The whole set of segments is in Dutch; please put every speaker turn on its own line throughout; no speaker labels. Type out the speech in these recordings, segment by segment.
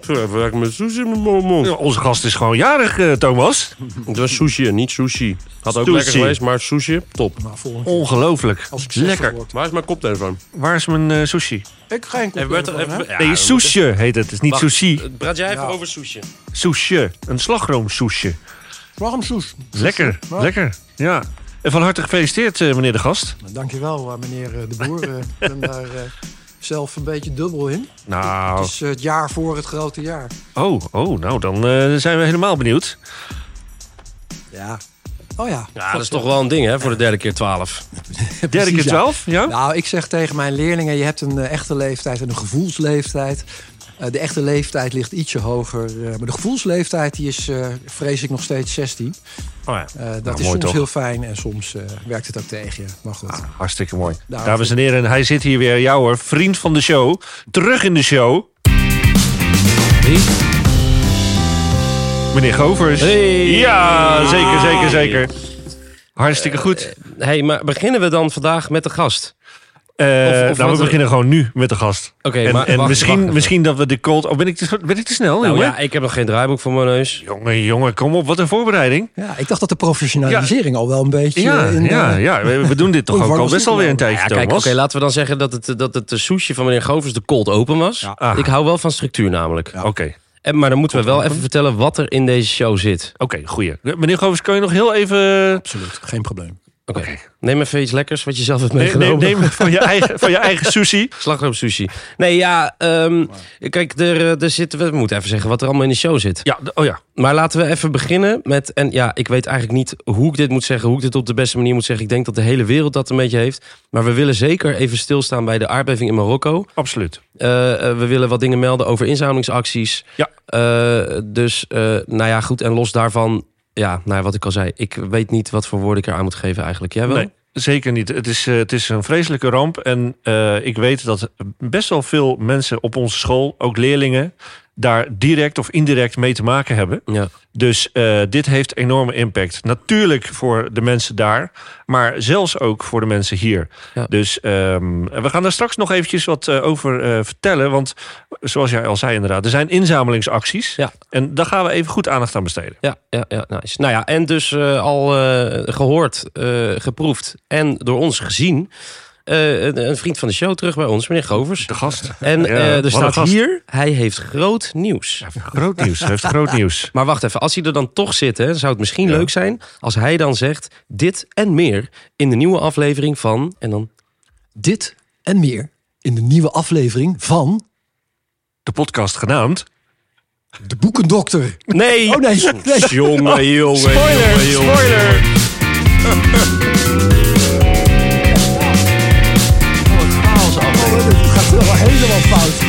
Zo, even raak ik mijn sushi in mijn mo- mond.
Ja, Onze gast is gewoon jarig, eh, Thomas.
Het was sushi, niet sushi. Had ook
Sushi.
lekker geweest, maar sushi, top.
Nou, volgende keer.
Ongelooflijk.
Als ik
Lekker.
word.
Waar is mijn koptelefoon?
Waar is mijn eh, sushi?
Ik ga geen
Even,
koptelefoon, hè?
even, ja,
nee, sushi heet het. Het is niet
Wacht.
sushi.
Praat jij even
Ja.
over sushi?
Sushi. Een slagroomsoesje.
Waarom Soes?
Lekker.
Ja.
Lekker. Ja. En van harte gefeliciteerd, eh, meneer de gast.
Dankjewel, eh, meneer eh, de Boer. Eh, Ik ben daar eh, zelf een beetje dubbel in. Het
Nou,
is eh, het jaar voor het grote jaar.
oh, oh, nou dan eh, zijn we helemaal benieuwd.
Ja. Oh ja.
Ja, dat is toch wel een ding, hè, voor de derde keer 12.
Derde keer
ja.
twaalf, ja?
Nou, ik zeg tegen mijn leerlingen, je hebt een eh, echte leeftijd en een gevoelsleeftijd. Eh, de echte leeftijd ligt ietsje hoger. eh, maar de gevoelsleeftijd die is, eh, vrees ik, nog steeds 16.
Oh, ja.
Eh, dat
Nou,
is
mooi
soms
toch? Ah.
heel fijn en soms eh, werkt het ook tegen je. Maar goed.
Hartstikke mooi.
Nou,
Daarom-
Dames en heren, hij zit hier weer. Jouw hoor, vriend van de show. Terug in de show. Meneer Govers.
Hey.
Ja, zeker, zeker, zeker. Hartstikke goed.
hey, maar beginnen we dan vandaag met de gast?
Eh,
of-
nou,
of
we
wat-
beginnen gewoon nu met de gast.
Oké,
en
maar
en
wacht,
misschien,
wacht even.
misschien dat we de cold... Oh, ben ik te, ben ik te snel,
Nou
jongen?
ja, ik heb nog geen draaiboek voor mijn neus.
Jongen, jongen, kom op. Wat een voorbereiding.
Ja, ik dacht dat de professionalisering al wel een beetje
Ja,
eh, in...
ja,
eh,
ja. We, we doen dit toch
Oh,
ook
waarom
al best
zitten
alweer
we
een
nou?
tijdje,
Ja, kijk, oké,
Thomas.
laten we dan zeggen dat het, dat het sushi van meneer Govers de cold open was.
Ah.
Ik hou wel van structuur namelijk.
Oké,
En, maar dan moeten we wel even vertellen wat er in deze show zit.
oké, goeie. Meneer Govers, kan je nog heel even...
Absoluut, geen probleem.
Oké. Neem even iets lekkers wat je zelf hebt
Nee,
meegenomen.
neem, neem van, je eigen, van je eigen sushi.
Slagroom sushi. Nee, ja, ehm, kijk, er, eh, er zitten, we moeten even zeggen wat er allemaal in de show zit.
Ja, d- oh ja.
Maar laten we even beginnen met, en ja, ik weet eigenlijk niet hoe ik dit moet zeggen, hoe ik dit op de beste manier moet zeggen. Ik denk dat de hele wereld dat een beetje heeft. Maar we willen zeker even stilstaan bij de aardbeving in Marokko.
Absoluut.
Eh, eh, we willen wat dingen melden over inzamelingsacties.
Ja.
Eh, dus, eh, nou ja, goed. En los daarvan, ja, nou ja, wat ik al zei. Ik weet niet wat voor woorden ik eraan moet geven eigenlijk. Jij wel?
Nee, zeker niet. Het is, eh, het is een vreselijke ramp. En eh, ik weet dat best wel veel mensen op onze school, ook leerlingen, daar direct of indirect mee te maken hebben.
Ja.
Dus eh, dit heeft enorme impact. Natuurlijk voor de mensen daar, maar zelfs ook voor de mensen hier.
Ja.
Dus ehm, we gaan daar straks nog eventjes wat eh, over eh, vertellen. Want zoals jij al zei inderdaad, er zijn inzamelingsacties.
Ja.
En daar gaan we even goed aandacht aan besteden.
Ja, ja, ja, nice. Nou ja, en dus eh, al eh, gehoord, eh, geproefd en door ons gezien. eh, een, een vriend van de show terug bij ons, meneer Govers.
De gast.
En
Ja,
eh,
wat
er
een
staat
gast.
hier, hij heeft groot nieuws.
Groot nieuws. Hij heeft groot nieuws.
Maar wacht even, als hij er dan toch zit, hè, zou het misschien
Ja.
leuk zijn als hij dan zegt dit en meer in de nieuwe aflevering van en dan
Dit en meer in de nieuwe aflevering van
De podcast genaamd.
De Boekendokter.
nee,
Oh nee, nee.
jongen, jongen,
Spoiler,
jongen, jongen.
spoiler.
Het gaat wel helemaal fout.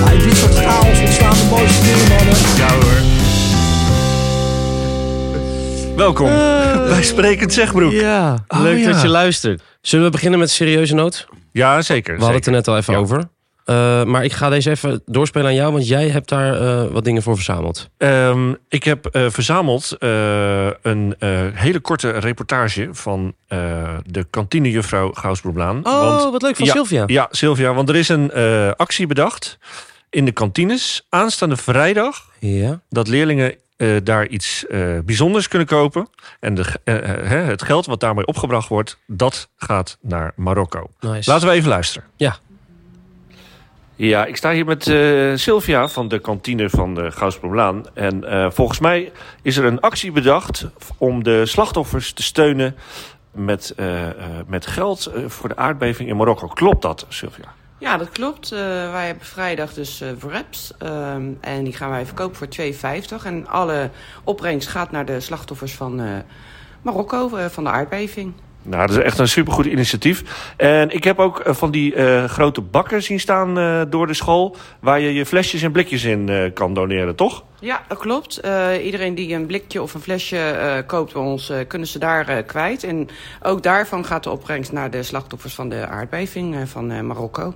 Maar in dit soort chaos ontstaan de mooiste dingen, mannen.
Ja hoor. Welkom bij Sprekend Zegbroek.
Eh. Ja,
Oh,
leuk
ja.
dat je luistert. Zullen we beginnen met een serieuze noot?
Ja, zeker.
We hadden het er net al even
Ja.
over. Eh, maar ik ga deze even doorspelen aan jou, want jij hebt daar eh, wat dingen voor verzameld.
Ehm, ik heb eh, verzameld eh, een eh, hele korte reportage van eh, de kantinejuffrouw Gausbroeblaan. Want
Oh, wat leuk
van
Sylvia.
Ja, Sylvia, want er is een eh, actie bedacht in de kantines aanstaande vrijdag
Ja.
dat leerlingen eh, daar iets eh, bijzonders kunnen kopen. En de, eh, eh, hè, het geld wat daarmee opgebracht wordt, dat gaat naar Marokko.
Nice.
Laten we even luisteren.
Ja.
Ja, ik sta hier met eh, Sylvia van de kantine van de Gauwsbloemlaan. En eh, volgens mij is er een actie bedacht om de slachtoffers te steunen met, eh, eh, met geld eh, voor de aardbeving in Marokko. Klopt dat, Sylvia?
Ja, dat klopt. Eh, wij hebben vrijdag dus eh wraps. ehm, en die gaan wij verkopen voor 2,50. En alle opbrengst gaat naar de slachtoffers van eh, Marokko, eh, van de aardbeving.
Nou, dat is echt een supergoed initiatief. En ik heb ook eh, van die eh, grote bakken zien staan eh, door de school... waar je je flesjes en blikjes in eh, kan doneren, toch?
Ja, dat klopt. Eh, iedereen die een blikje of een flesje eh, koopt bij ons, eh, kunnen ze daar eh, kwijt. En ook daarvan gaat de opbrengst naar de slachtoffers van de aardbeving eh, van eh, Marokko.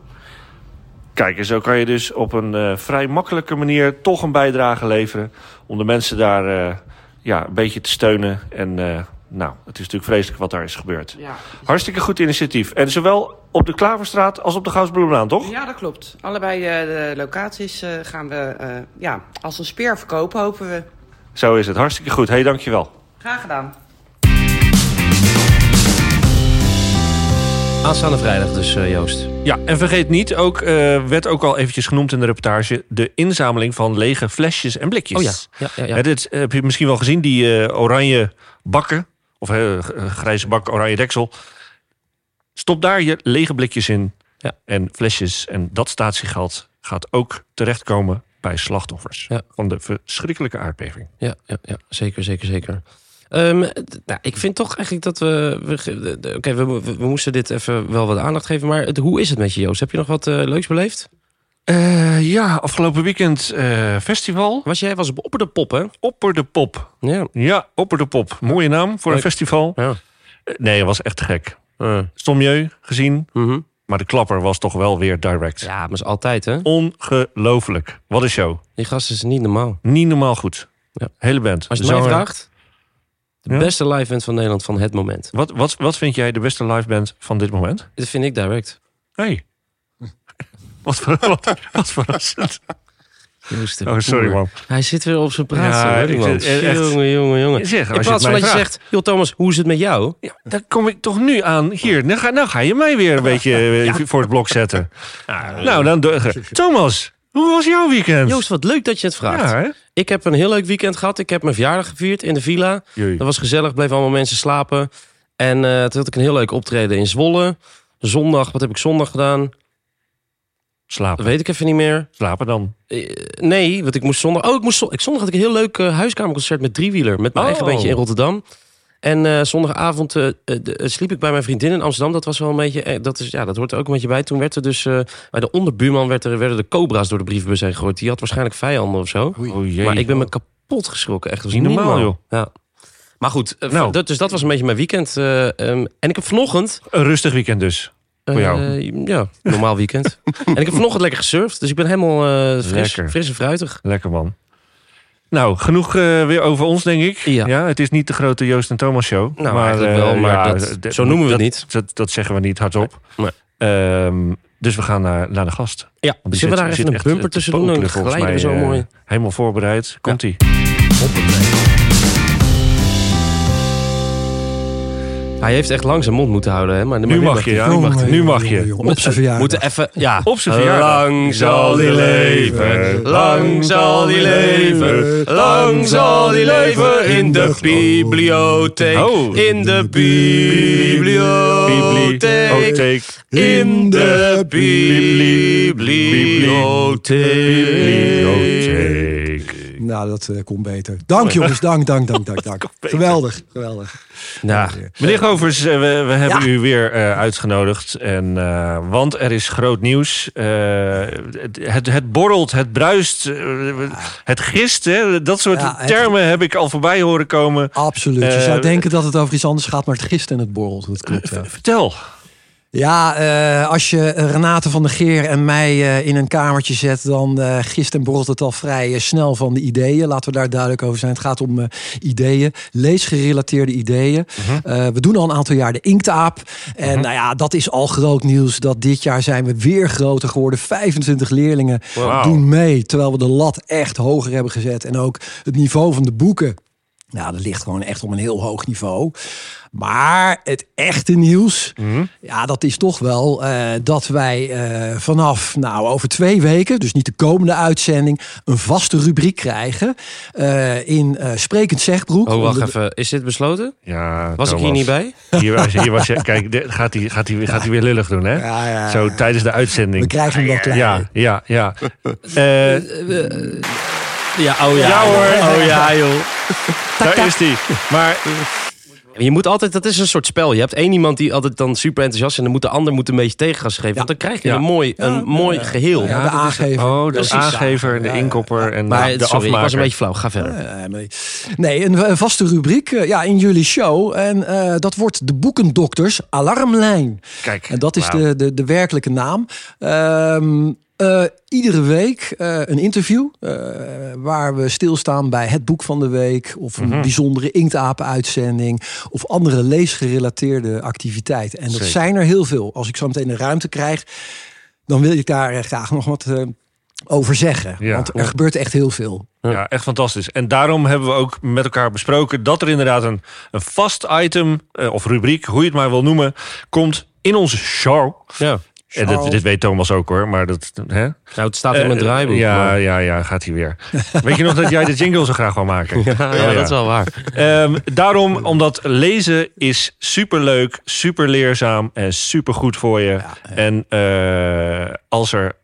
Kijk, en zo kan je dus op een eh, vrij makkelijke manier toch een bijdrage leveren. Om de mensen daar eh, ja, een beetje te steunen en eh, Nou, het is natuurlijk vreselijk wat daar is gebeurd.
Ja.
Hartstikke goed initiatief. En zowel op de Klaverstraat als op de Goudsbloemlaan, toch?
ja, dat klopt. Allebei eh, de locaties eh, gaan we eh, ja, als een speer verkopen, hopen we.
Zo is het. Hartstikke goed. Hé, hey, dankjewel.
Graag gedaan.
Aanstaande vrijdag dus, eh, Joost.
Ja, en vergeet niet, ook eh, werd ook al eventjes genoemd in de reportage... de inzameling van lege flesjes en blikjes.
Oh ja, ja, ja, ja.
Hè, dit eh, heb je misschien wel gezien, die eh, oranje bakken. Of eh, g- eh, grijze bak, oranje deksel. Stop daar je lege blikjes in
Ja.
en flesjes. En dat statiegeld gaat ook terechtkomen bij slachtoffers...
Ja.
van de verschrikkelijke aardbeving.
Ja, ja, ja zeker, zeker, zeker. Ehm, d- nou, ik vind toch eigenlijk dat we... we ge- de- de- Oké, we, mo- we, we moesten dit even wel wat aandacht geven. Maar het, hoe is het met je, Joost? Heb je nog wat eh, leuks beleefd?
Eh, ja, afgelopen weekend eh, festival.
Was jij was op de pop, hè?
Opper de Pop.
Ja.
Ja, Opper de Pop. Mooie naam voor een
Leuk.
festival.
ja.
Eh, Nee, het was echt gek.
Eh,
Stomjeu gezien,
mhm.
maar de klapper was toch wel weer direct.
Ja, maar is altijd, hè?
Ongelooflijk. Wat een show.
Die gast is niet normaal.
Niet normaal goed.
Ja.
Hele band.
Als je het mij
Zanger.
vraagt, de
Ja?
beste live band van Nederland van het moment.
Wat, wat, wat vind jij de beste live band van dit moment?
Dat vind ik direct.
Hey. wat, ver- wat, wat verrassend.
Joost de
Oh, sorry
Boer.
man.
Hij zit weer op zijn praat.
Ja,
hoor, die
ik
man.
zit- echt.
Jongen, jongen, jongen.
Zeg,
In
als je
plaats
het
van
mij
dat je
vraagt.
zegt, joh Thomas, hoe is het met jou?
Ja, daar kom ik toch nu aan. Hier, nou ga, nou ga je mij weer een beetje eh, voor het blok zetten. nou, dan... door- Thomas, hoe was jouw weekend?
Joost, wat leuk dat je het vraagt.
ja, hè?
Ik heb een heel leuk weekend gehad. Ik heb mijn verjaardag gevierd in de villa.
Jee.
Dat was gezellig, bleven allemaal mensen slapen. En eh, toen had ik een heel leuk optreden in Zwolle. Zondag, wat heb ik zondag gedaan?
Slapen.
Dat weet ik even niet meer.
Slapen dan.
Eh, nee, want ik moest zondag... Oh, ik moest zondag, ik, zondag had ik een heel leuk eh, huiskamerconcert met driewieler. Met mijn
Oh.
eigen bandje in Rotterdam. En eh, zondagavond eh, eh, de- eh, sliep ik bij mijn vriendin in Amsterdam. Dat was wel een beetje... eh, dat, is, ja, dat hoort er ook een beetje bij. Toen werd er dus... eh, bij de onderbuurman werd er, werden de cobra's door de brievenbus heen gegooid. Die had waarschijnlijk vijanden of zo.
Oh jee.
Maar ik ben me kapot geschrokken. Echt, dat was
Niet
niet
normaal,
normaal, joh. Ja. Maar goed, eh,
Nou.
dat, dus dat was een beetje mijn weekend. eh, ehm, en ik heb vanochtend...
Een rustig weekend dus.
eh,
Voor jou.
ja, normaal weekend. en ik heb vanochtend lekker gesurfd. Dus ik ben helemaal eh, fris,
Lekker.
fris en fruitig.
Lekker man. Nou, genoeg eh, weer over ons, denk ik.
Ja.
het is niet de grote Joost en Thomas show.
Nou, eigenlijk wel,
eh,
maar dat- zo noemen we het
dat-
niet.
Dat, dat zeggen we niet hardop.
Nee.
Ehm, dus we gaan naar, naar de gast.
Ja,
Want die
zullen we
zit-
daar
zit
even een
echt
bumper
te
tussen doen? Dan
popelen, volgens
glijden we
mij,
zo
eh,
mooi.
Helemaal voorbereid. Komt-ie.
Hij heeft echt lang zijn mond moeten houden, hè? Maar,
Nu mag je, ja. Nu mag, nu mag je.
Op zijn verjaardag.
Moeten even, ja.
Op zijn verjaardag.
Lang zal hij leven, lang zal hij leven, lang zal hij leven in de bibliotheek,
Oh.
in de bibliotheek,
Bibliotheek.
in de bibliotheek.
Bibliotheek.
Nou, dat eh, komt beter. Dank jongens, dank, dank, dank, dank, dank. Geweldig, geweldig.
Nou,
Meneer Govers, eh, we, we hebben
Ja.
u weer eh, uitgenodigd. En, eh, want er is groot nieuws. Eh, het, het, het borrelt, het bruist, eh, het gist. Hè, dat soort
Ja, het-
termen heb ik al voorbij horen komen.
Absoluut. Je
Eh,
zou denken dat het over iets anders gaat, maar het gist en het borrelt. Dat klopt, ja.
Vertel.
Ja, eh, als je eh, Renate van der Geer en mij eh, in een kamertje zet, dan eh gist en borrelt het al vrij eh, snel van de ideeën. Laten we daar duidelijk over zijn. Het gaat om eh, ideeën, leesgerelateerde ideeën. Eh, we doen al een aantal jaar de Inktaap. En nou ja, dat is al groot nieuws. Dat dit jaar zijn we weer groter geworden. 25 leerlingen
Wauw.
doen mee. Terwijl we de lat echt hoger hebben gezet. En ook het niveau van de boeken. Nou, dat ligt gewoon echt op een heel hoog niveau. Maar het echte nieuws, ja, dat is toch wel eh, dat wij eh, vanaf, nou, over twee weken, dus niet de komende uitzending, een vaste rubriek krijgen eh, in eh, Sprekend Zegbroek.
oh wacht
Onder de-
even, is dit besloten?
Ja,
Was ik hier
Thomas.
niet bij?
Hier was, hier was je. Kijk, dit- gaat hij gaat die, gaat die weer lullig doen, hè?
Ja, ja, ja.
Zo tijdens de uitzending.
We krijgen hem wel klein.
Ja, ja, ja. Eh,
Ja, oh
ja hoor. Oh ja, joh.
tak.
Daar is hij. Maar
Je moet altijd, dat is een soort spel. Je hebt één iemand die altijd dan super enthousiast is en dan moet de ander moet een beetje tegengas geven. Want dan krijg je
Ja.
een mooi, een mooi geheel.
Ja, de aangever.
Oh, de
Precies.
aangever en de inkopper en
Maar
de, de
sorry, ik was
afmaker.
een beetje flauw. Ga verder.
Eh, nee. Nee, een, een vaste rubriek eh, ja, in jullie show. En eh, dat wordt de Boekendokters Alarmlijn.
Kijk,
En dat is
wauw.
de, de, de werkelijke naam. Ehm, Eh, iedere week eh, een interview eh, waar we stilstaan bij het boek van de week of
Mhm.
een bijzondere inktapen-uitzending of andere leesgerelateerde activiteiten. En dat
Zeker.
zijn er heel veel. Als ik zo meteen de ruimte krijg, dan wil ik daar eh, graag nog wat eh, over zeggen.
Ja.
Want er gebeurt echt heel veel.
Ja, echt fantastisch. En daarom hebben we ook met elkaar besproken dat er inderdaad een, een vast item eh, of rubriek, hoe je het maar wil noemen, komt in onze show.
Ja.
En dit, dit weet Thomas ook hoor, maar dat. Hè? Eh,
Nou, het staat in mijn draaiboek.
Ja,
maar-
ja, ja, gaat hij weer. Weet je nog dat jij de jingle zo graag wou maken?
Ja,
Oh,
dat is wel waar.
Ehm, daarom, omdat lezen is superleuk, super leerzaam en super goed voor je. En eh, als er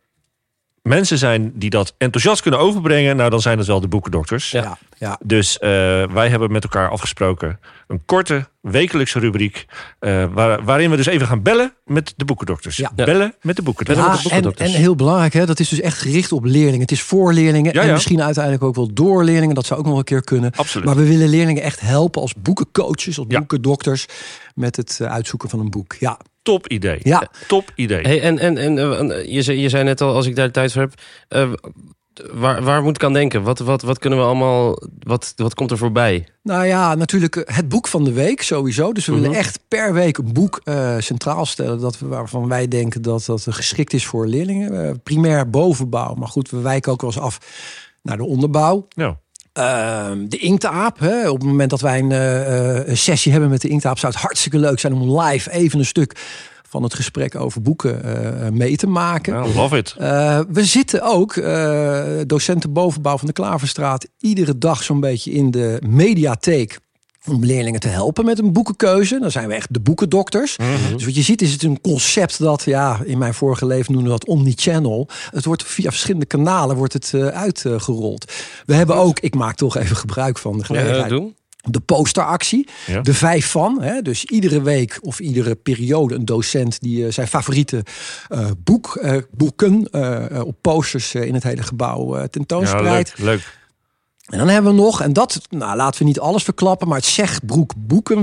mensen zijn die dat enthousiast kunnen overbrengen, nou dan zijn het wel de boekendokters.
Ja.
Ja, ja.
Dus eh, wij hebben met elkaar afgesproken een korte wekelijkse rubriek. eh, waar- waarin we dus even gaan bellen met de boekendokters.
Ja.
Ja.
Bellen met de boekendokters.
Ja,
Bellen met de
en,
boekendokters.
en heel belangrijk, hè, dat is dus echt gericht op leerlingen. Het is voor leerlingen
Ja,
en
ja.
misschien uiteindelijk ook wel door leerlingen. Dat zou ook nog een keer kunnen.
Absoluut.
Maar we willen leerlingen echt helpen als boekencoaches, als
Ja.
boekendokters met het eh, uitzoeken van een boek. Ja,
Top idee.
ja.
Top idee.
Hey, en en, en eh, eh, je, zei, je zei net al, als ik daar tijd voor heb... eh, waar, waar moet ik aan denken? Wat, wat, wat kunnen we allemaal... Wat, wat komt er voorbij?
Nou ja, natuurlijk eh, het boek van de week sowieso. Dus we
Mhm.
willen echt per week een boek eh, centraal stellen... Dat we, waarvan wij denken dat dat eh, geschikt is voor leerlingen. Eh, primair bovenbouw, maar goed, we wijken ook wel eens af naar de onderbouw.
Nou,
Ehm, de Inktaap. Hè. Op het moment dat wij een, eh, eh, sessie hebben met de Inktaap... zou het hartstikke leuk zijn om live even een stuk van het gesprek over boeken eh, mee te maken.
nou, love it.
Eh, we zitten ook, eh, docenten bovenbouw van de Klaverstraat, iedere dag zo'n beetje in de mediatheek. Om leerlingen te helpen met een boekenkeuze. Dan zijn we echt de boekendokters. Dus wat je ziet is het een concept dat, ja, in mijn vorige leven noemde we dat omnichannel. Het wordt via verschillende kanalen wordt het eh, uitgerold. We hebben ook, ik maak toch even gebruik van de
Ja,
gelegenheid
Eh, doen?
de posteractie.
Ja.
De vijf van. Hè? Dus iedere week of iedere periode een docent die eh, zijn favoriete eh, boek, eh, boeken eh, eh, op posters eh, in het hele gebouw eh
Ja,
tentoonspreidt.
leuk, leuk.
en dan hebben we nog, en dat, nou laten we niet alles verklappen, maar het Zegbroek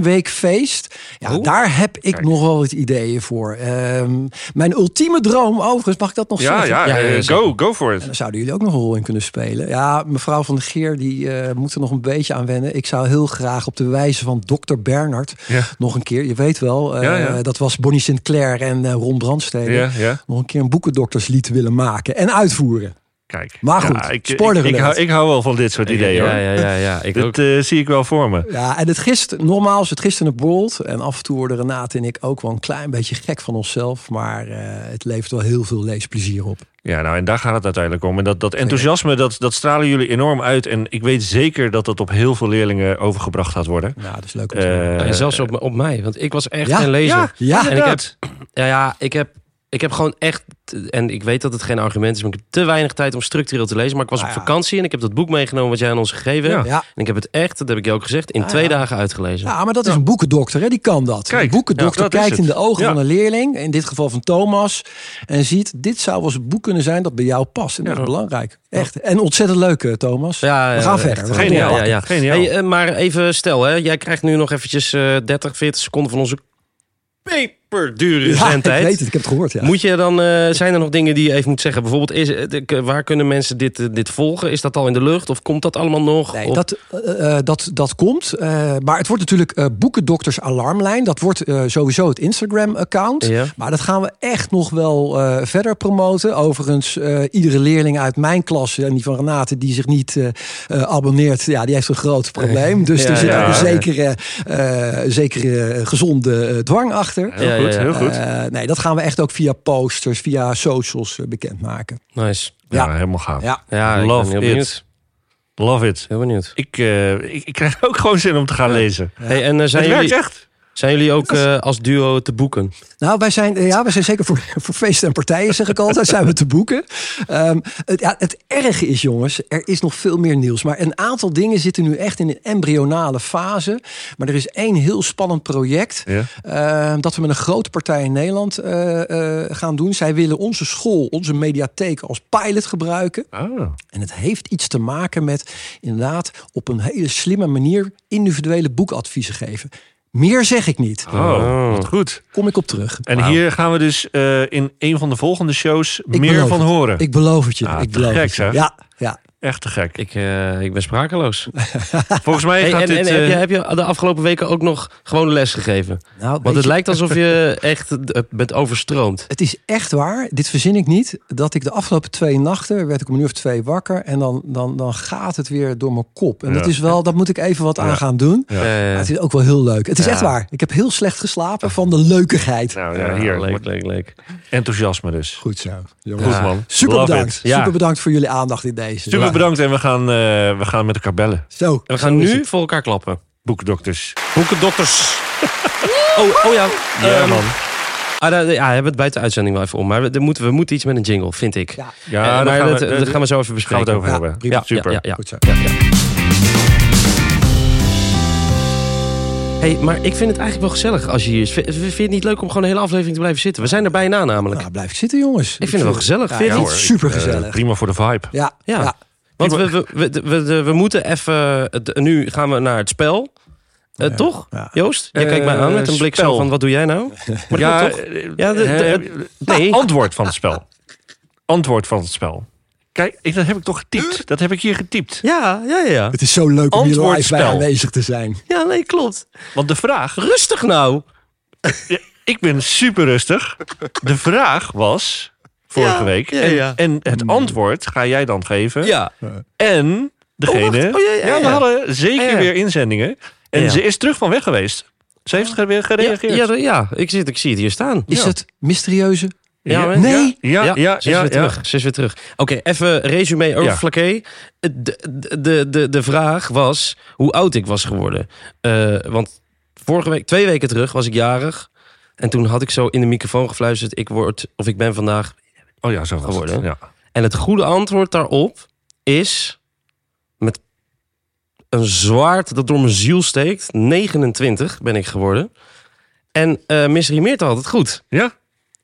Boekenweekfeest. Ja,
Oh.
daar heb ik
Kijk.
nog wel wat ideeën voor. Ehm, mijn ultieme droom, overigens, mag ik dat nog
Ja,
zeggen?
ja,
Ja, ja,
eh,
ja,
go, go for it.
Daar zouden jullie ook nog een rol in kunnen spelen. Ja, mevrouw van de Geer, die eh, moet er nog een beetje aan wennen. Ik zou heel graag op de wijze van dokter Bernard
Ja.
nog een keer, je weet wel, eh,
Ja, ja.
dat was Bonnie Sinclair en eh, Ron Brandstede,
Ja, ja.
nog een keer een boekendokterslied willen maken en uitvoeren.
Kijk.
Maar goed,
Ja, ik,
spoiler
ik, ik, hou,
alert.
ik hou wel van dit soort ideeën
ja,
hoor.
ja, ja, ja. Ik ook.
Dat eh, zie ik wel voor me.
Ja, en het gisteren, nogmaals, het gisteren bold. En af en toe worden Renate en ik ook wel een klein beetje gek van onszelf. Maar eh, het levert wel heel veel leesplezier op.
Ja, nou en daar gaat het uiteindelijk om. En dat, dat enthousiasme, dat, dat stralen jullie enorm uit. En ik weet zeker dat dat op heel veel leerlingen overgebracht gaat worden.
Nou, dat is leuk. om te horen.
Ja,
Eh
en zelfs op, op mij, want ik was echt
Ja,
geen lezer.
ja,
ja,
en ik heb,
inderdaad.
ja, ja, ik heb, ik heb gewoon echt, en ik weet dat het geen argument is, maar ik heb te weinig tijd om structureel te lezen. Maar ik was
Nou
op
ja.
vakantie en ik heb dat boek meegenomen wat jij aan ons gegeven hebt.
ja.
En ik heb het echt, dat heb ik je ook gezegd, in
Ah,
twee
ja.
dagen uitgelezen.
Ja, maar dat is een boekendokter, hè? die kan dat.
Kijk,
een
ja,
boekendokter
dat is
kijkt in
het.
de ogen
Ja.
van een leerling, in dit geval van Thomas, en ziet: dit zou wel eens een boek kunnen zijn dat bij jou past. En dat
Ja.
is belangrijk. Echt. En ontzettend leuk, eh, Thomas.
Ja,
We
ja,
gaan
echt.
verder. We gaan
Geniaal.
Geniaal.
door.
Ja, ja.
Geniaal.
Hey, eh, maar even stel, hè, jij krijgt nu nog eventjes eh 30, 40 seconden van onze peperdure
dus
Ja, ik
zendtijd.
weet het, ik heb het gehoord. Ja.
Moet je dan, eh, zijn er nog dingen die je even moet zeggen? Bijvoorbeeld, is, eh, de- k- waar kunnen mensen dit, eh, dit volgen? Is dat al in de lucht of komt dat allemaal nog?
Nee,
Of-
dat, eh, eh, dat, dat komt. eh, maar het wordt natuurlijk eh Boekendokters Alarmlijn. Dat wordt eh, sowieso het Instagram-account.
Ja.
Maar dat gaan we echt nog wel eh, verder promoten. Overigens, eh, iedere leerling uit mijn klasse en die van Renate die zich niet eh, eh, abonneert, ja, die heeft een groot probleem. Dus
Ja,
er zit
ja.
ook een zekere, eh, zekere eh, gezonde eh, dwang achter.
Heel
Ja,
goed,
ja, ja.
heel goed.
Eh, nee, dat gaan we echt ook via posters, via socials eh, bekendmaken.
Nice.
ja.
ja.
helemaal gaaf.
Ja.
Ja, ik
Love
ben heel
it.
benieuwd.
Love it.
Heel benieuwd.
Ik, eh, ik, ik krijg ook gewoon zin om te gaan lezen.
Hey, en eh, zijn,
het
jullie,
werkt echt.
zijn jullie ook eh, als duo te boeken?
Nou, wij zijn, eh, ja, wij zijn zeker voor, voor feesten en partijen, zeg ik altijd, zijn we te boeken. Ehm, het, ja, het erge is, jongens, er is nog veel meer nieuws. Maar een aantal dingen zitten nu echt in een embryonale fase. Maar er is één heel spannend project
Ja.
ehm, dat we met een grote partij in Nederland eh, eh, gaan doen. Zij willen onze school, onze mediatheek als pilot gebruiken.
Oh.
En het heeft iets te maken met inderdaad op een hele slimme manier individuele boekadviezen geven. Meer zeg ik niet.
Oh, wat goed.
Kom ik op terug.
En
Wauw.
hier gaan we dus eh, in een van de volgende shows
Ik
meer
beloof
van
het.
horen.
Ik beloof het je.
Ah,
ik
te
beloof
gek,
het je.
zeg.
Ja, ja.
Echt te gek.
Ik, eh, ik ben sprakeloos.
Volgens mij
Hey,
gaat
en en
dit...
heb,
eh,
je, heb je de afgelopen weken ook nog gewoon les gegeven?
Nou, weet
Want het
je,
lijkt alsof je echt eh, bent overstroomd.
Het is echt waar, dit verzin ik niet, dat ik de afgelopen twee nachten werd ik om een uur of twee wakker en dan, dan, dan gaat het weer door mijn kop. En
Ja.
dat is wel, dat moet ik even wat
Ja.
aan gaan doen.
Ja.
Eh,
Maar het is ook wel heel leuk. Het is
Ja.
echt waar. Ik heb heel slecht geslapen van de leukigheid.
Nou ja, hier.
Leuk, leuk, leuk.
Enthousiasme dus.
Goed zo.
Goed man.
Super
Love
bedankt.
it. Ja.
Super bedankt voor jullie aandacht in deze.
Super bedankt en we gaan, eh, we gaan met elkaar bellen.
Zo.
En we gaan nu voor elkaar klappen.
Boekdokters.
Boekendokters. Oh, oh ja.
Ja
ehm,
man.
ah, daar- ja, hebben we het buiten uitzending wel even om. Maar we, daar moeten, we moeten iets met een jingle, vind ik.
Ja,
Eh,
Ja,
maar
daar gaan
dat,
we,
dat gaan we zo even bespreken.
gaan we het over
Ja,
hebben.
prima.
Ja,
super. Eh,
Ja, ja,
Goed zo.
ja, ja. Hey, maar ik vind het eigenlijk wel gezellig als je hier is. V- Vind je het niet leuk om gewoon een hele aflevering te blijven zitten? We zijn er bijna namelijk.
Nou, blijf zitten jongens.
Ik vind het wel gezellig. Vind je
Ja,
niet?
hoor, ik,
super
eh,
gezellig.
prima voor de vibe.
Ja,
Ja.
ja.
Want we, we, we, we, we- we moeten even... het- Nu gaan we naar het spel. Eh,
Ja.
Toch?
Ja.
Joost, jij
Eh,
kijkt mij aan met een blik zo
spel.
van... Wat doe jij nou? Maar ja, toch?
eh,
Ja, de- de-
eh,
nee.
Antwoord van het spel. Antwoord van het spel. Kijk, ik, dat heb ik toch getypt? Dat heb ik hier getypt.
Ja, ja, ja, ja.
Het is zo leuk om hier live bij
Antwoordspel.
aanwezig te zijn.
Ja, nee, klopt.
Want de vraag...
Rustig nou.
Ja, ik ben super rustig. De vraag was vorige
Ja,
week.
ja,
en,
ja.
en het antwoord ga jij dan geven.
Ja.
En
Oh,
degene.
wacht. Oh, ja, ja,
we
ja.
hadden zeker
Ja, ja.
weer inzendingen. En
Ja, ja.
ze is terug van weg geweest. Ze heeft ge- weer
Ja,
gereageerd.
ja, ja, ik, zit, ik zie het hier staan.
Is
ja.
dat mysterieuze?
Ja, maar-
Nee.
Ja, ja, ja.
ze is
ja,
weer terug. Ze is weer terug. Oké, even resume over
Ja.
Flaké. Eh, De, de, de, de vraag was hoe oud ik was geworden. Eh, want vorige week, twee weken terug, was ik jarig. En toen had ik zo in de microfoon gefluisterd: ik word of ik ben vandaag.
Oh ja, zo was het.
Geworden.
Ja.
En het goede antwoord daarop is met een zwaard dat door mijn ziel steekt. 29 ben ik geworden. En eh misrimeert had het goed.
ja.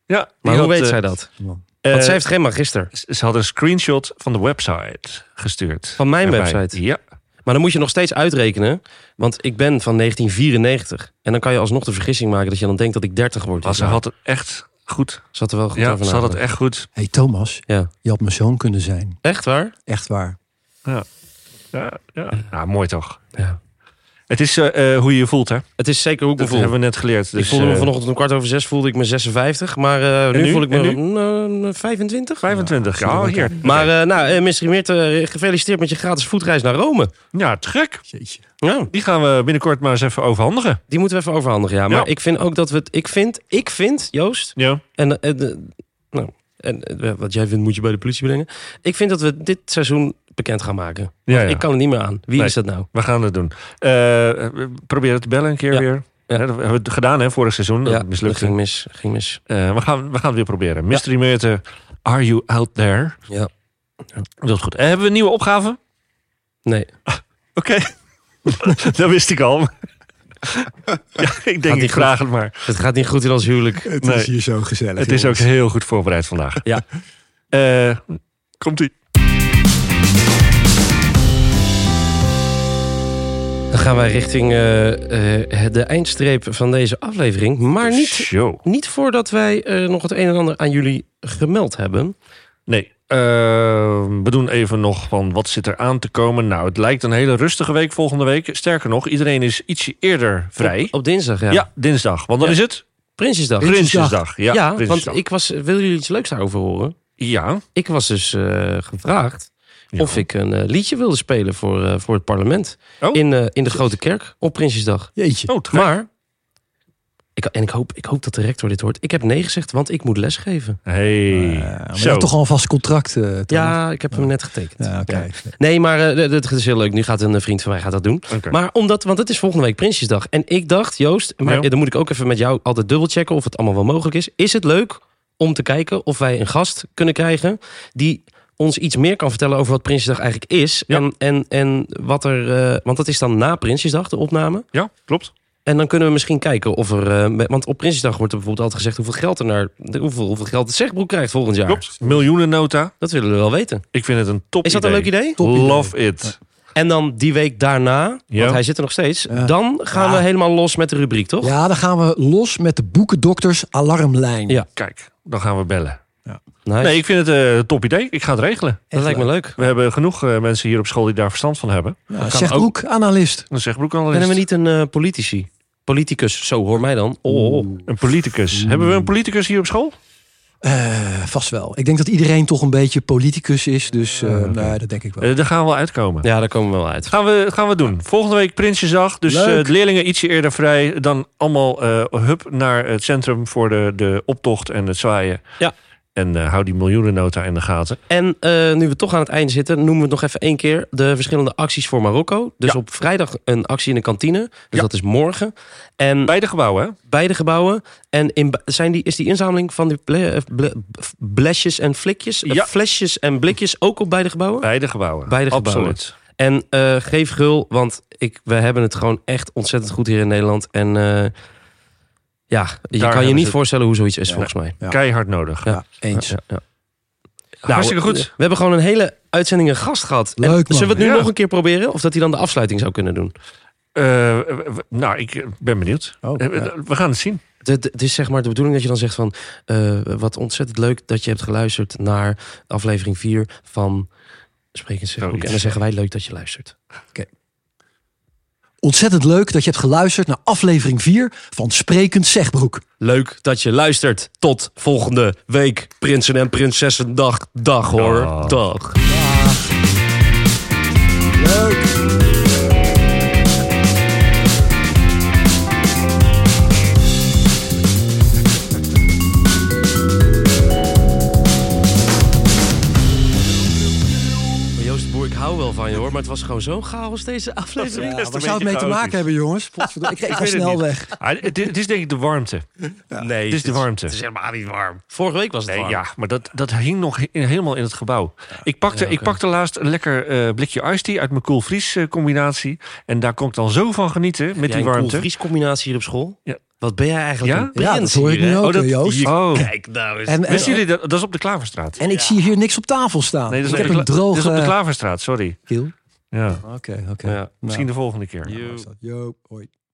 ja. Die
Maar hoe
had,
weet
eh,
zij dat?
eh,
Want zij heeft geen magister.
ze- Ze had een screenshot van de website gestuurd.
Van mijn
Erbij.
website?
Ja.
Maar dan moet je nog steeds uitrekenen. Want ik ben van 1994. En dan kan je alsnog de vergissing maken dat je dan denkt dat ik 30 word.
Maar ze had het echt goed.
Ze had er wel goed
Ja,
over
ze had het
nagedacht.
echt goed.
Hey Thomas,
Ja.
je had mijn zoon kunnen zijn.
Echt waar?
Echt waar.
Ja, ja. Nou, mooi toch.
Ja.
Het is eh, eh, hoe je je voelt, hè?
Het is zeker hoe ik me
Dat
voel.
hebben we net geleerd. Dus,
ik voelde me
eh,
vanochtend om kwart over zes voelde ik me 56. Maar eh, nu,
nu?
voel ik
En
me eh, 25.
25. Ja,
Ja,
hier.
Maar eh nou, eh Mystery Meert, eh, gefeliciteerd met je gratis voetreis naar Rome.
Ja, te gek.
Jeetje.
Ja,
Die gaan we binnenkort maar eens even overhandigen.
die moeten we even overhandigen. Ja, maar
Ja.
ik vind ook dat we het. Ik vind, ik vind, Joost,
Ja.
En, eh, de- nou, en eh, wat jij vindt moet je bij de politie brengen. Ik vind dat we dit seizoen bekend gaan maken.
Ja, ja.
Ik kan er niet meer aan. Wie
Nee.
is dat nou?
We gaan het doen. Eh, we proberen te bellen een keer
Ja.
weer. Hè,
Ja.
Dat hebben we het gedaan hè, vorig seizoen. Nou, Dat
ja, dat
mislukte.
ging mis. Ging mis.
Eh, we, gaan, we gaan het weer proberen. Mystery Meurten, are you out there?
Ja.
Dat is goed. En hebben we een nieuwe opgave?
Nee.
Oké. dat wist ik al. ja, ik denk,
niet
ik
goed.
vraag het maar.
Het gaat niet goed in ons huwelijk.
Het
Nee.
is hier zo gezellig.
Het is ook
jongens.
heel goed voorbereid vandaag.
Ja.
Eh, Komt-ie.
Dan gaan wij richting eh, eh, de eindstreep van deze aflevering. Maar niet,
Show.
niet voordat wij eh, nog het een en ander aan jullie gemeld hebben.
Nee. eh, we doen even nog van wat zit er aan te komen. Nou, het lijkt een hele rustige week volgende week. Sterker nog, iedereen is ietsje eerder vrij.
Op, op dinsdag, ja.
ja. dinsdag. Want dan
Ja.
is het
Prinsjesdag.
Prinsjesdag. Ja,
Ja,
Prinsjesdag.
want ik was... Wil jullie iets leuks daarover horen?
ja.
ik was dus eh, gevraagd
Ja.
of ik een eh, liedje wilde spelen voor, eh, voor het parlement.
Oh.
In, eh, in de Grote Kerk op Prinsjesdag.
Jeetje.
Oh, te gek.
Maar, ik, en ik hoop, ik hoop dat de rector dit hoort. Ik heb nee gezegd, want ik moet lesgeven.
Hey.
Eh,
Ja, maar je
Zo.
had toch al een vast contract, eh, Thomas?
Ja, ik heb hem net getekend.
Ja, oké.
Nee, maar eh, d- d- het is heel leuk. Nu gaat een eh, vriend van mij gaat dat doen.
Oké.
Maar omdat, want het is volgende week Prinsjesdag. En ik dacht, Joost, maar
Ja.
dan moet ik ook even met jou altijd dubbelchecken of het allemaal wel mogelijk is. Is het leuk om te kijken of wij een gast kunnen krijgen die ons iets meer kan vertellen over wat Prinsjesdag eigenlijk is.
Ja.
En, en, en wat er, eh, want dat is dan na Prinsjesdag de opname.
Ja, klopt.
En dan kunnen we misschien kijken of er, eh, met- want op Prinsjesdag wordt er bijvoorbeeld altijd gezegd hoeveel geld er naar, de- hoeveel, hoeveel geld het zegbroek krijgt volgend jaar.
Klopt. Miljoenennota.
Dat willen we wel weten.
Ik vind het een top
Is dat een leuk idee?
Top idee.
Love it.
En dan die week daarna, want
Ja.
hij zit er nog steeds. Dan gaan
Ja.
we helemaal los met de rubriek, toch?
Ja, dan gaan we los met de boekendokters alarmlijn.
Ja.
Kijk, dan gaan we bellen.
Nice.
Nee, ik vind het eh, een top idee. Ik ga het regelen.
dat lijkt me leuk.
We hebben genoeg eh, mensen hier op school die daar verstand van hebben.
Ja, Nou, zegt ook, analist.
Dan zegt Broekanalist.
Kennen we niet een eh, politici? Politicus, zo hoor mij dan. Oh,
Een politicus. Hebben we een politicus hier op school?
Eh, vast wel. Ik denk dat iedereen toch een beetje politicus is. Dus eh, nee, dat denk ik wel.
Eh, daar gaan we wel uitkomen.
ja, daar komen we wel uit.
Gaan we, gaan we doen. Volgende week Prinsjesdag. Dus eh,
Leuk.
de leerlingen ietsje eerder vrij. Dan allemaal eh hup naar het centrum voor de, de optocht en het zwaaien.
Ja.
En eh, hou die miljoenennota in de gaten.
En eh, nu we toch aan het einde zitten, noemen we het nog even één keer de verschillende acties voor Marokko. Dus
Ja.
op vrijdag een actie in de kantine. Dus
Ja.
dat is morgen. En
Bij de gebouwen, hè?
beide gebouwen. En in, ba- zijn die, is die inzameling van die ble- eh, ble- f- blesjes en flikjes, eh,
Ja.
flesjes en blikjes ook op beide gebouwen?
Bij de gebouwen.
Bij de gebouwen.
Absoluut.
En eh, geef gul, want ik, we hebben het gewoon echt ontzettend goed hier in Nederland. En eh, ja, je
hebben
kan
ze
je niet
het.
voorstellen hoe zoiets is, volgens mij.
Ja.
Keihard nodig.
Ja.
ja, eens.
Ja, ja.
Hartstikke
Nou,
goed.
We hebben gewoon een hele uitzending een gast gehad. En
Leuk, man.
Zullen we het nu
Ja.
nog een keer proberen? Of dat hij dan de afsluiting zou kunnen doen?
Eh, w- w- nou, ik eh, ben benieuwd.
Oh,
Eh,
ja.
We gaan het zien.
Het het is zeg maar de bedoeling dat je dan zegt van... eh, wat ontzettend leuk dat je hebt geluisterd naar aflevering 4 van... Sprekend Zegboek.
Zoiets.
En dan zeggen wij leuk dat je luistert.
Ontzettend leuk dat je hebt geluisterd naar aflevering 4 van Sprekend Zegbroek.
Leuk dat je luistert. Tot volgende week. Prinsen en Prinsessendag. Dag hoor.
Dag.
Dag.
Leuk.
Joost de Boer, ik hou wel van je hoor. Maar het was gewoon zo'n chaos deze aflevering.
Ja, is
Ja, waar
een
zou het
beetje
mee te
chaotisch.
maken hebben, jongens? Potverdorie, Ik, ik
Ik
ga
weet het
snel
niet.
weg.
Ah, het, het is denk ik de warmte.
Nee,
Het is de warmte.
helemaal niet warm. Vorige week was het
Nee,
warm.
ja, maar dat, dat hing nog he- helemaal in het gebouw. ik, pakte, ik pakte laatst een lekker eh, blikje iced tea uit mijn koelvries eh, combinatie. En daar kon ik dan zo van genieten met
Jij
die
een
warmte.
vriescombinatie hier op school?
Ja.
Wat ben jij eigenlijk
Ja?
een prins
Ja, dat hoor ik
hier,
nu
hè?
ook,
Oh, dat-
hè, Joost.
hier-
Oh.
Oh.
Kijk nou eens.
En, en,
Wisten jullie dat? Dat is op de Klaverstraat.
en ik zie hier niks op tafel staan.
Nee, dat
ik
is, op
heb
de, Kla-
een
dat is
droge
op de Klaverstraat, sorry.
keel.
Ja,
Oké, oké.
Ja,
Nou,
misschien de volgende keer.
You.
zo is dat. Yo, hoi.